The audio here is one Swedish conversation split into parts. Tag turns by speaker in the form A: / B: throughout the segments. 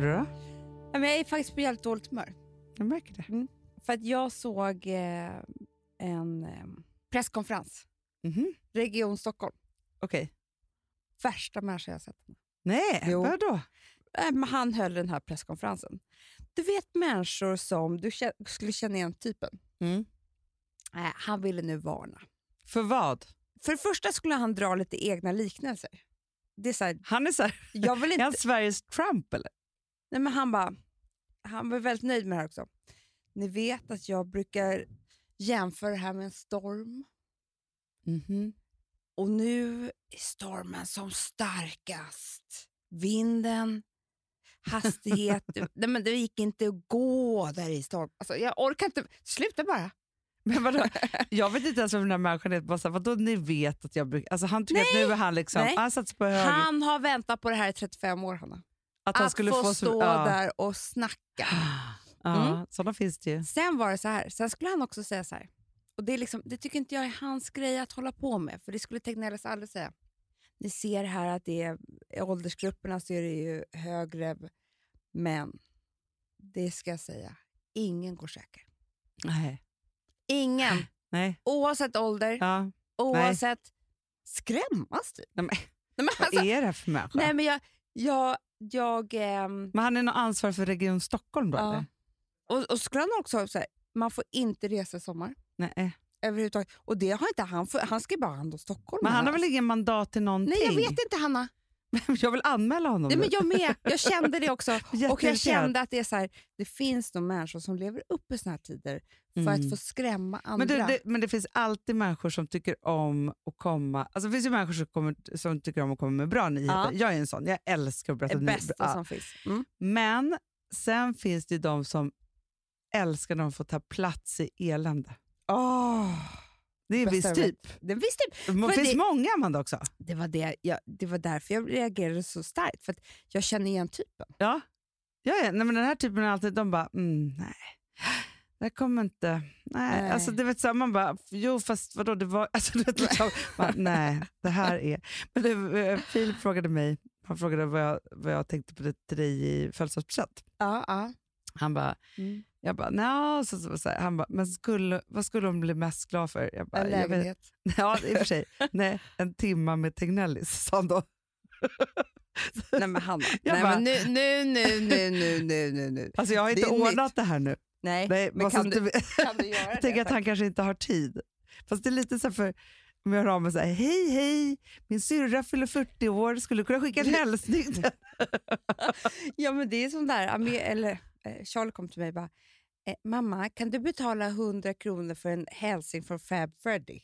A: du då?
B: Ja, men jag är faktiskt på jävligt dåligt humör. Mm.
A: Jag märker det.
B: För att jag såg eh, en eh, presskonferens,
A: Mhm.
B: Region Stockholm.
A: Okej.
B: Värsta människa jag sett.
A: Nej,
B: Jo.
A: vadå?
B: Nej, men han höll den här presskonferensen. Du vet människor som du kä- skulle känna igen typen.
A: Mm.
B: Nej, han ville nu varna.
A: För vad?
B: För det första skulle han dra lite egna liknelser. Det är så här,
A: Han är, så här,
B: jag vill
A: är
B: inte...
A: han Sveriges Trump eller?
B: Nej, men han, bara, han var väldigt nöjd med det här också. Ni vet att jag brukar jämföra det här med en storm.
A: Mhm.
B: Och nu är stormen som starkast. Vinden, hastighet. Nej, men det gick inte att gå där i storm. Alltså, jag orkar inte. Sluta bara.
A: Men vadå? Jag vet inte ens om den här människan är. Bara så här, vadå ni vet att jag brukar... Alltså han tycker att nu är han liksom...
B: Nej.
A: Han satt på höger.
B: Han har väntat på det här i 35 år, Hanna.
A: att han skulle
B: få,
A: få
B: stå
A: ja.
B: där Mm. och snacka.
A: Ja, sådana finns det ju.
B: Sen var det så här. Sen skulle han också säga så här. Och det, är liksom, det tycker inte jag är hans grej att hålla på med, för det skulle Tegnells aldrig säga. Ni ser här att det är, i åldersgrupperna så är det ju högre män. Det ska jag säga, ingen går säker.
A: Nej.
B: Ingen,
A: Nej.
B: oavsett ålder,
A: Ja.
B: oavsett skrämmas typ.
A: Nej, men-
B: Nej, men
A: Vad
B: alltså,
A: är det här för människa?
B: nej, men jag, jag, jag ehm,
A: Men han är nog ansvarig för Region Stockholm då
B: Ja.
A: eller?
B: och, och skulle han också ha så här, man får inte resa i sommar.
A: Nej.
B: överhuvudtaget. Och det har inte han, för han ska ju bara handla om Stockholm.
A: Men han har
B: Hanna.
A: väl ingen mandat till någonting?
B: Nej, jag vet inte Hanna.
A: inte. Jag vill anmäla honom
B: Nej, men
A: nu.
B: jag med. Jag kände det också. Och jag
A: Jätteirriterad.
B: kände att det är så här, det finns nog människor som lever upp i såna här tider för
A: Mm.
B: att få skrämma andra.
A: Men, du, det, men det finns alltid människor som tycker om att komma... Alltså det finns ju människor som, kommer, som tycker om att komma med bra nyheter.
B: Ja.
A: Jag är en sån. Jag älskar att
B: är
A: berätta
B: det
A: nyheter.
B: bästa
A: Ja.
B: som finns. Mm.
A: Men sen finns det ju de som älskar när de får ta plats i elände. Ah. Det är en viss
B: Bästa jag
A: typ.
B: Det, visst, det,
A: Det finns
B: det-
A: många man också.
B: det, var det, jag, det var därför jag reagerade så starkt, för att jag känner igen typen.
A: Ja, ja, ja. Nej, men den här typen är alltid, de bara, mm, nej, det här kommer inte, nej.
B: Nej.
A: Alltså, det vet, så här, man bara, jo fast vadå, det var, alltså, du vet, liksom, man, nej, det här är. Men du, eh, Filip frågade mig, han frågade vad jag, vad jag tänkte på det till dig i födelsedagspresent.
B: Ja, ja.
A: Han bara,
B: Mm.
A: jag bara, nja, så, så, så, här. han bara, men skulle, vad skulle hon bli mest glad för? Jag bara,
B: En
A: jag vet,
B: lägenhet.
A: ja, i och för sig, nej, en timma med Tegnellis, sa han då.
B: Nej men Hanna,
A: Jag
B: Nej,
A: bara-
B: men nu, nu, nu, nu, nu, nu, nu, nu.
A: Alltså jag har inte
B: Det är nytt.
A: ordnat det här nu.
B: Nej,
A: Nej,
B: men
A: bara så
B: kan
A: att
B: du,
A: du vet.
B: kan du göra
A: Jag tänker
B: det?
A: att han kanske inte har tid. Fast det är lite så här för om jag hör av mig såhär, hej hej, min syrra fyller 40 år, skulle du kunna skicka
B: Mm.
A: en hälsning?
B: Ja, men det är som där, Ame- eller eh, Charlie kom till mig och bara, eh, mamma kan du betala 100 kronor för en hälsning från Fab Freddy?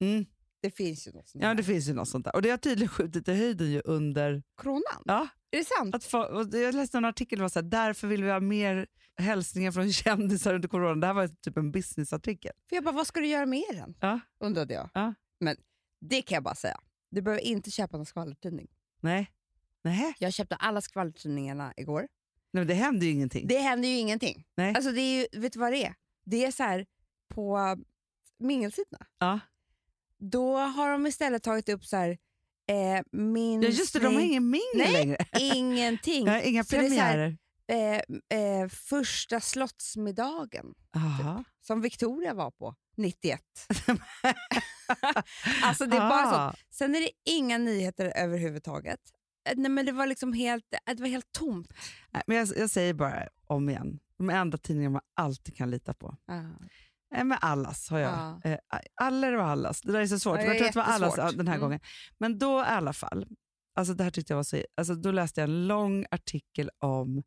A: Mm.
B: Det finns ju något sånt
A: Ja,
B: där.
A: det finns ju något sånt där. Och det har tydligen skjutit i höjden ju under...
B: Kronan,
A: Ja,
B: är det sant?
A: att få, och jag läste en artikel där det var så här, därför vill vi ha mer hälsningar från kändisar under corona. Det här var typ en businessartikel.
B: För jag bara, vad ska du göra med den?
A: Ja.
B: Undrade jag.
A: Ja.
B: Men det kan jag bara säga, du behöver inte köpa någon skvallertidning.
A: Nej. Nej. Nej,
B: Jag köpte alla skvallertidningarna igår.
A: men det hände ju ingenting.
B: Det händer ju ingenting.
A: Nej.
B: Alltså, det är ju, vet du vad det är? Det är så här på mingelsidorna.
A: Ja.
B: Då har de istället tagit upp så här, eh, min
A: Ja, just det, de har
B: släng-
A: ingen mingel
B: Nej.
A: längre.
B: ingenting.
A: Ja, inga
B: Så det är så här-
A: premiärer.
B: eh, eh, första slottsmiddagen
A: Aha.
B: som Victoria var på 91. alltså det är bara sånt.
A: Ah.
B: Sen är det inga nyheter överhuvudtaget. Eh, Nej, men det var liksom helt, eh, det var helt tomt.
A: Nej, men jag, jag säger bara om igen, de enda tidningar man alltid kan lita på. Nej, men allas har jag.
B: Ja.
A: Eh, Aller och allas. Det där är så svårt.
B: Ja, det
A: men jag
B: är
A: tror att det var allas
B: jättesvårt.
A: ja, den här
B: Mm.
A: gången. Men då i alla fall, alltså det här tyckte jag var så, alltså då läste jag en lång artikel om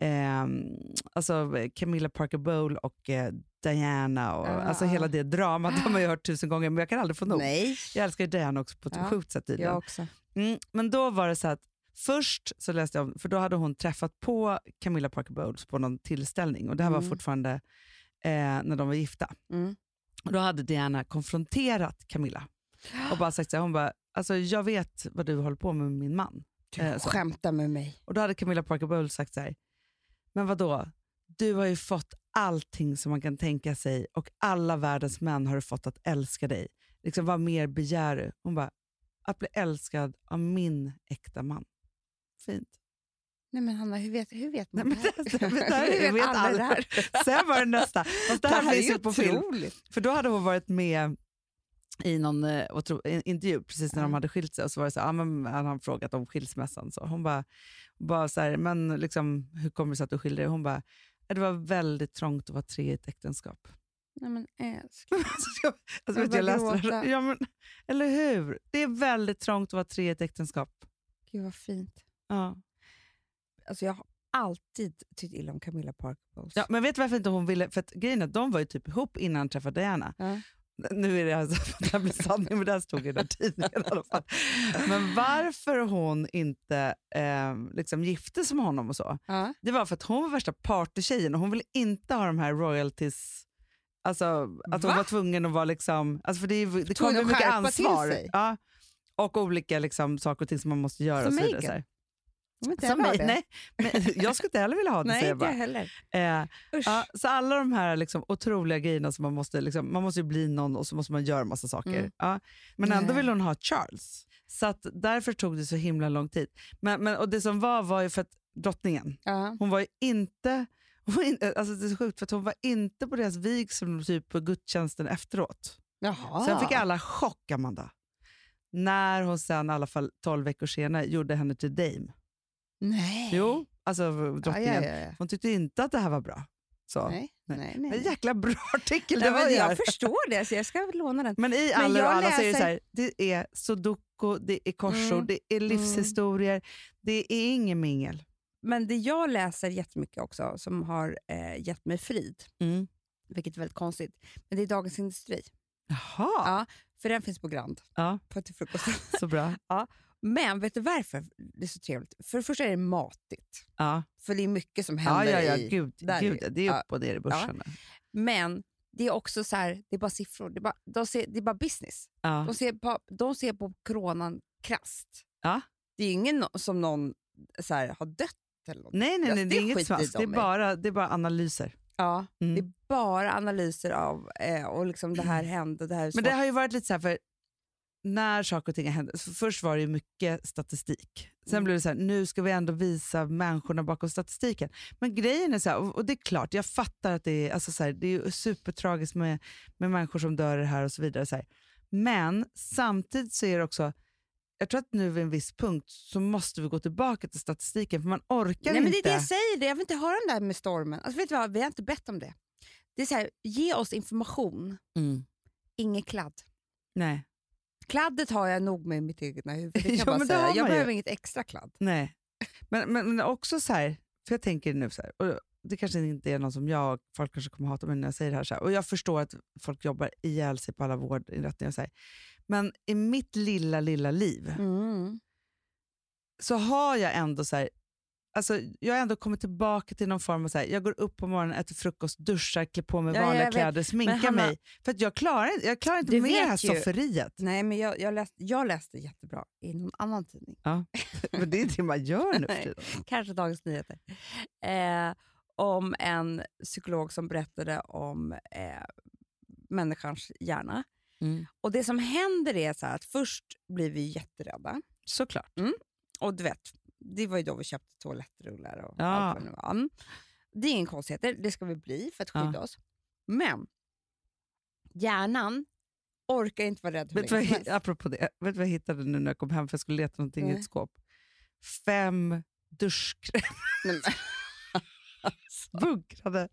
A: ehm, alltså Camilla Parker Bowl och eh, Diana och
B: Ja,
A: alltså
B: ja.
A: hela det dramat. De har man ju hört tusen gånger men jag kan aldrig få nog.
B: Ah. Nej,
A: Jag älskar ju Diana också på ett
B: Ja,
A: sjukt sätt tydligen.
B: jag också.
A: Mm, men då var det så att först så läste jag om, för då hade hon träffat på Camilla Parker Bowles på någon tillställning och det här var
B: Mm.
A: fortfarande eh, när de var gifta.
B: Mm.
A: Och då hade Diana konfronterat Camilla och bara sagt så här, hon bara, alltså jag vet vad du håller på med med min man. Eh,
B: Du
A: så.
B: skämtar med mig.
A: Och då hade Camilla Parker Bowles sagt så här, men vadå, du har ju fått allting som man kan tänka sig och alla världens män har du fått att älska dig. Liksom, vad mer begär du? Hon bara, att bli älskad av min äkta man. Fint.
B: Nej men Hanna, hur vet, hur vet
A: Nej,
B: man
A: men
B: det
A: det- det-
B: här?
A: det här-
B: hur
A: vet
B: alla
A: alla.
B: det här?
A: Sen var det nästa. Fast det
B: Det
A: här
B: här är
A: finns
B: ju
A: ju på film.
B: otroligt.
A: För då hade hon varit med i någon eh, otro, en intervju precis när de
B: Mm.
A: hade skilt sig och så var det så här, ah, men han har frågat om skilsmässan. Så hon bara, bara så här, men liksom, hur kommer det sig att du skilde dig? Hon bara, "Ja, det var väldigt trångt att vara tre i ett äktenskap.
B: Nej men eh, älskling.
A: Alltså, jag, alltså, vet,
B: Jag
A: du, jag
B: börjar
A: läste det. här.
B: gråta.
A: Ja, men, eller hur? Det är väldigt trångt att vara tre i ett äktenskap.
B: Gud vad fint.
A: Ja.
B: Alltså jag har alltid tyckt illa om Camilla Park Bowles.
A: Ja, men vet du varför inte hon ville? För att grejen är att de var ju typ ihop innan han träffade Diana.
B: Ja.
A: Nu är det alltså det här blir sanning, men det här stod i den här tidningen i alla fall. Men varför hon inte eh, liksom gifte sig med honom och så,
B: Ja.
A: det var för att hon var värsta partytjejen och hon ville inte ha de här royalties, alltså att hon
B: Va?
A: var tvungen att vara liksom, alltså för det, är ju- det
B: Tvungen
A: kommer
B: att
A: mycket
B: skärpa till
A: ansvar.
B: sig.
A: Ja, och olika liksom, saker och ting som man måste göra.
B: Som
A: och så vidare,
B: Meghan.
A: så här.
B: Jag vet inte
A: Som
B: heller
A: mig,
B: det.
A: nej, men jag skulle inte heller vilja ha det,
B: Nej,
A: säger jag
B: inte jag
A: bara.
B: heller.
A: Eh,
B: Usch.
A: Ja, så alla de här liksom otroliga grejerna som man måste, liksom, man måste ju bli någon och så måste man göra massa saker.
B: Mm.
A: Ja, men ändå
B: Nej.
A: vill hon ha Charles. Så att därför tog det så himla lång tid. Men, men, och det som var var ju för att drottningen,
B: Ja.
A: hon var ju inte, hon var in, alltså det är så sjukt för att hon var inte på deras vigsel typ på gudstjänsten efteråt.
B: Jaha.
A: Sen fick alla chock, Amanda. När hon sen i alla fall 12 veckor senare gjorde henne till dame.
B: Nej.
A: Jo, alltså
B: ja,
A: drottningen.
B: ja, ja, ja.
A: Hon tyckte inte att det här var bra. Så.
B: Nej,
A: Nej.
B: nej, nej.
A: En
B: nej.
A: jäkla bra artikel.
B: Nej,
A: det var
B: men
A: det här.
B: jag förstår det, så jag ska låna den.
A: Men i
B: Men
A: alla och
B: jag
A: alla så är det
B: läser-
A: så här, det är sudoku, det är korsord,
B: Mm.
A: det är livshistorier, det är ingen mingel.
B: Men det jag läser jättemycket också, som har eh, gett mig frid, vilket är väldigt konstigt, men det är Dagens Industri.
A: Jaha,
B: Ja, för den finns på Grand,
A: Ja.
B: på till frukosten.
A: så bra.
B: Men vet du varför det är så trevligt? För det första är det matigt,
A: Ja,
B: för det är mycket som
A: ja,
B: händer
A: ja, ja
B: i...
A: gud,
B: där
A: gud
B: är-
A: det är
B: ja.
A: upp och ner i börsen. Ja.
B: Men det är också så här, det är bara siffror, det är bara, de ser, det är bara business. De ser på, de ser på coronan krasst.
A: Ja.
B: Det är ju ingen no- som någon så här, har dött eller något.
A: Nej, nej,
B: Ja,
A: nej, det
B: det
A: är inget
B: skiter
A: smask, det
B: de
A: är,
B: i.
A: bara, det är bara analyser.
B: Ja,
A: Mm.
B: Det är bara analyser av eh, och liksom det här hände, det här är
A: Men det
B: svårt.
A: har ju varit lite så här, för när saker och ting hände, så först var det ju mycket statistik. Sen
B: Mm.
A: blev det så här, nu ska vi ändå visa människorna bakom statistiken. Men grejen är så här, och, och det är klart, jag fattar att det är, alltså så här, det är ju supertragiskt med, med människor som dör i det här och så vidare. Så här. Men samtidigt så är det också, jag tror att nu vid en viss punkt så måste vi gå tillbaka till statistiken för man orkar
B: Nej, men det
A: inte.
B: är det jag säger, det. jag vill inte höra den där med stormen. Alltså, vet du vad? Vi har inte bett om det. Det är så här, ge oss information,
A: Mm.
B: inget kladd.
A: Nej,
B: Kladdet har jag nog med i mitt egna huvud, det kan
A: Ja,
B: jag bara
A: men det har
B: säga.
A: man
B: Jag
A: ju.
B: behöver inget extra kladd.
A: Nej. Men, men, men också så här, för jag tänker nu så här, och det kanske inte är någon som jag, folk kanske kommer hata mig när jag säger det här, så här och jag förstår att folk jobbar ihjäl sig på alla vårdinrättningar och så här. Men i mitt lilla, lilla liv
B: Mm.
A: så har jag ändå så här, alltså jag har ändå kommit tillbaka till någon form av så här, jag går upp på morgonen, äter frukost, duschar, klär på mig
B: Ja, ja,
A: vanliga
B: jag vet.
A: kläder, sminkar
B: Hanna-
A: mig. För att jag klarar, inte- jag klarar inte
B: Du
A: med det här
B: vet ju-
A: sofferiet.
B: Nej, men jag, jag, läste, jag läste jättebra i någon annan tidning.
A: Men det är det man gör nu för
B: Nej.
A: tiden.
B: kanske Dagens Nyheter, eh, om en psykolog som berättade om eh, människans hjärna.
A: Mm.
B: Och Det som händer är så här att först blir vi jätterädda.
A: Såklart.
B: Och du vet, det var ju då vi köpte toalettrullar och
A: Ja.
B: allt vad det nu var. Mm. Det är ingen konstigheter, det ska vi bli för att
A: Ja.
B: skydda oss. Men hjärnan orkar inte vara rädd hur
A: Vet du vad,
B: länge som
A: jag-
B: helst.
A: apropå det, vet du vad jag hittade nu när jag kom hem för jag skulle leta någonting i
B: Nej.
A: ett skåp? Fem duschkrämer.
B: Nej, men-
A: Bunkrade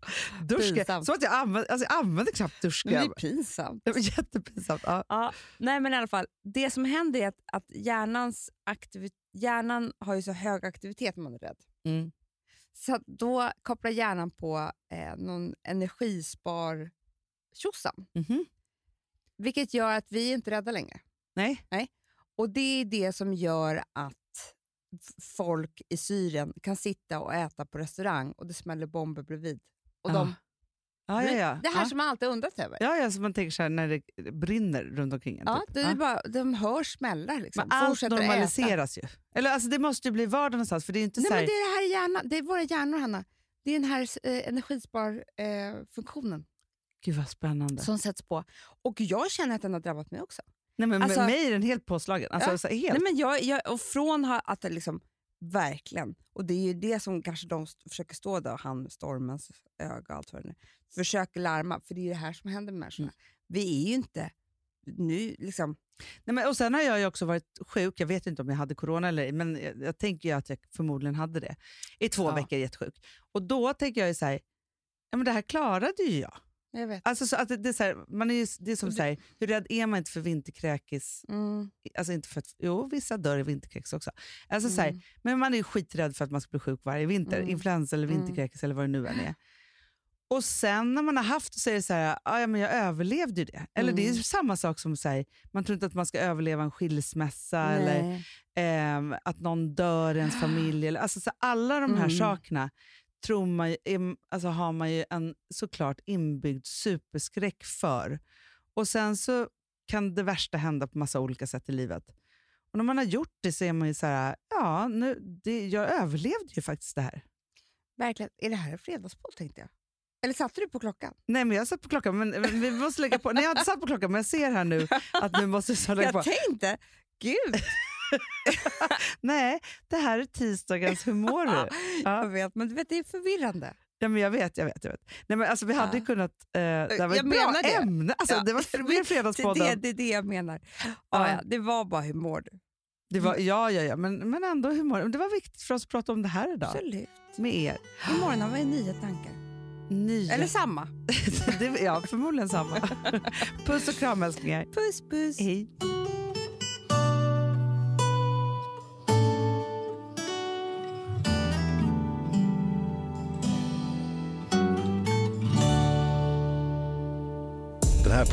A: duschkrämer.
B: Pinsamt.
A: Som att jag använde, alltså jag använde knappt
B: Det är
A: duschkräm.
B: pinsamt.
A: Det var jättepinsamt. Ja.
B: Ja, nej men i alla fall. Det som händer är att, att hjärnans aktivi- hjärnan har ju så hög aktivitet när man är rädd.
A: Mm.
B: Så att då kopplar hjärnan på eh, någon energispar
A: Mhm.
B: vilket gör att vi är inte rädda längre.
A: Nej.
B: Och det är det som gör att f- folk i Syrien kan sitta och äta på restaurang och det smäller bomber bredvid. Och de,
A: Ja, ja, ja.
B: Det här
A: ja.
B: som man alltid undrat över.
A: Ja, typ. ja, så man tänker så här när det brinner runt omkring en.
B: Ja,
A: typ.
B: det är
A: Ja.
B: bara, de hör smällar. Liksom.
A: Men allt
B: Fortsätter äta.
A: normaliseras ju. Eller alltså det måste ju bli vardag någonstans för det är ju inte
B: Nej,
A: så här,
B: men det är det här i hjärnan. Det är våra hjärnor, Hanna. Det är den här eh, energisparfunktionen
A: gud vad spännande.
B: som sätts på. Och jag känner att den har drabbat mig också.
A: Nej, men med
B: alltså-
A: mig är den helt påslagen. Alltså,
B: Ja.
A: så här, helt.
B: Nej, men jag, jag, och från har- att det liksom Verkligen. Och det är ju det som kanske de st- försöker stå där, och han, stormens öga och allt vad det nu Försöker larma, för det är ju det här som händer med människorna. Vi är ju inte nu liksom...
A: Nej, men, och sen har jag ju också varit sjuk, jag vet inte om jag hade corona eller ej, men jag, jag tänker ju att jag förmodligen hade det. I två
B: Ja.
A: veckor jättesjuk. Och då tänker jag ju så här, ja, men det här klarade ju jag.
B: Jag vet.
A: Alltså, så att det, det, är så här, man är ju, det är som
B: Och
A: så här, hur rädd är man inte för vinterkräkis?
B: Mm,
A: Alltså inte för att, jo, vissa dör i vinterkräkis också. Alltså, så här,
B: mm.
A: men man är ju skiträdd för att man ska bli sjuk varje vinter.
B: Mm.
A: Influensa eller
B: Mm.
A: vinterkräkis eller vad det nu än är. Och sen när man har haft så är det så här, "Ah, ja, men jag överlevde ju det. Eller det är ju
B: Mm.
A: samma sak som så här, man tror inte att man ska överleva en skilsmässa eller
B: Nej.
A: ehm, att någon dör i ens familj. Eller, alltså, så alla de här
B: Mm.
A: sakerna tror man ju, är, alltså, har man ju en såklart inbyggd superskräck för. Och sen så kan det värsta hända på massa olika sätt i livet. Och när man har gjort det så är man ju så här, ja, nu, det, jag överlevde ju faktiskt det här.
B: Verkligen. Är det här en fredagspodd tänkte jag? Eller satte du på klockan?
A: Nej, men jag satt på klockan, men, men vi måste lägga på. Nej, jag hade satt på klockan, men jag ser här nu att nu måste jag lägga på.
B: Jag tänkte, gud!
A: Nej, det här är tisdagens humor. du.
B: Jag vet, men du vet, det är förvirrande.
A: Ja, men jag vet, jag vet. Jag vet. Nej, men alltså, vi hade
B: Ja.
A: ju kunnat... Eh, det här var
B: Jag
A: ett bra
B: menar det.
A: ämne. Alltså,
B: Ja.
A: Det var fr- mer
B: Det, det,
A: Fredagspodden.
B: det är det jag menar.
A: Ja.
B: Ja. Ja, det var bara humor. du.
A: Det var, ja, ja, ja. Men, men ändå humor. Men Det var viktigt för oss att prata om det här idag.
B: Absolut.
A: Med er.
B: Imorgon har vi nya tankar.
A: Nya.
B: Eller samma.
A: det, ja, förmodligen samma. Puss och kram älsklingar.
B: Puss, puss.
A: Hej.
C: Den här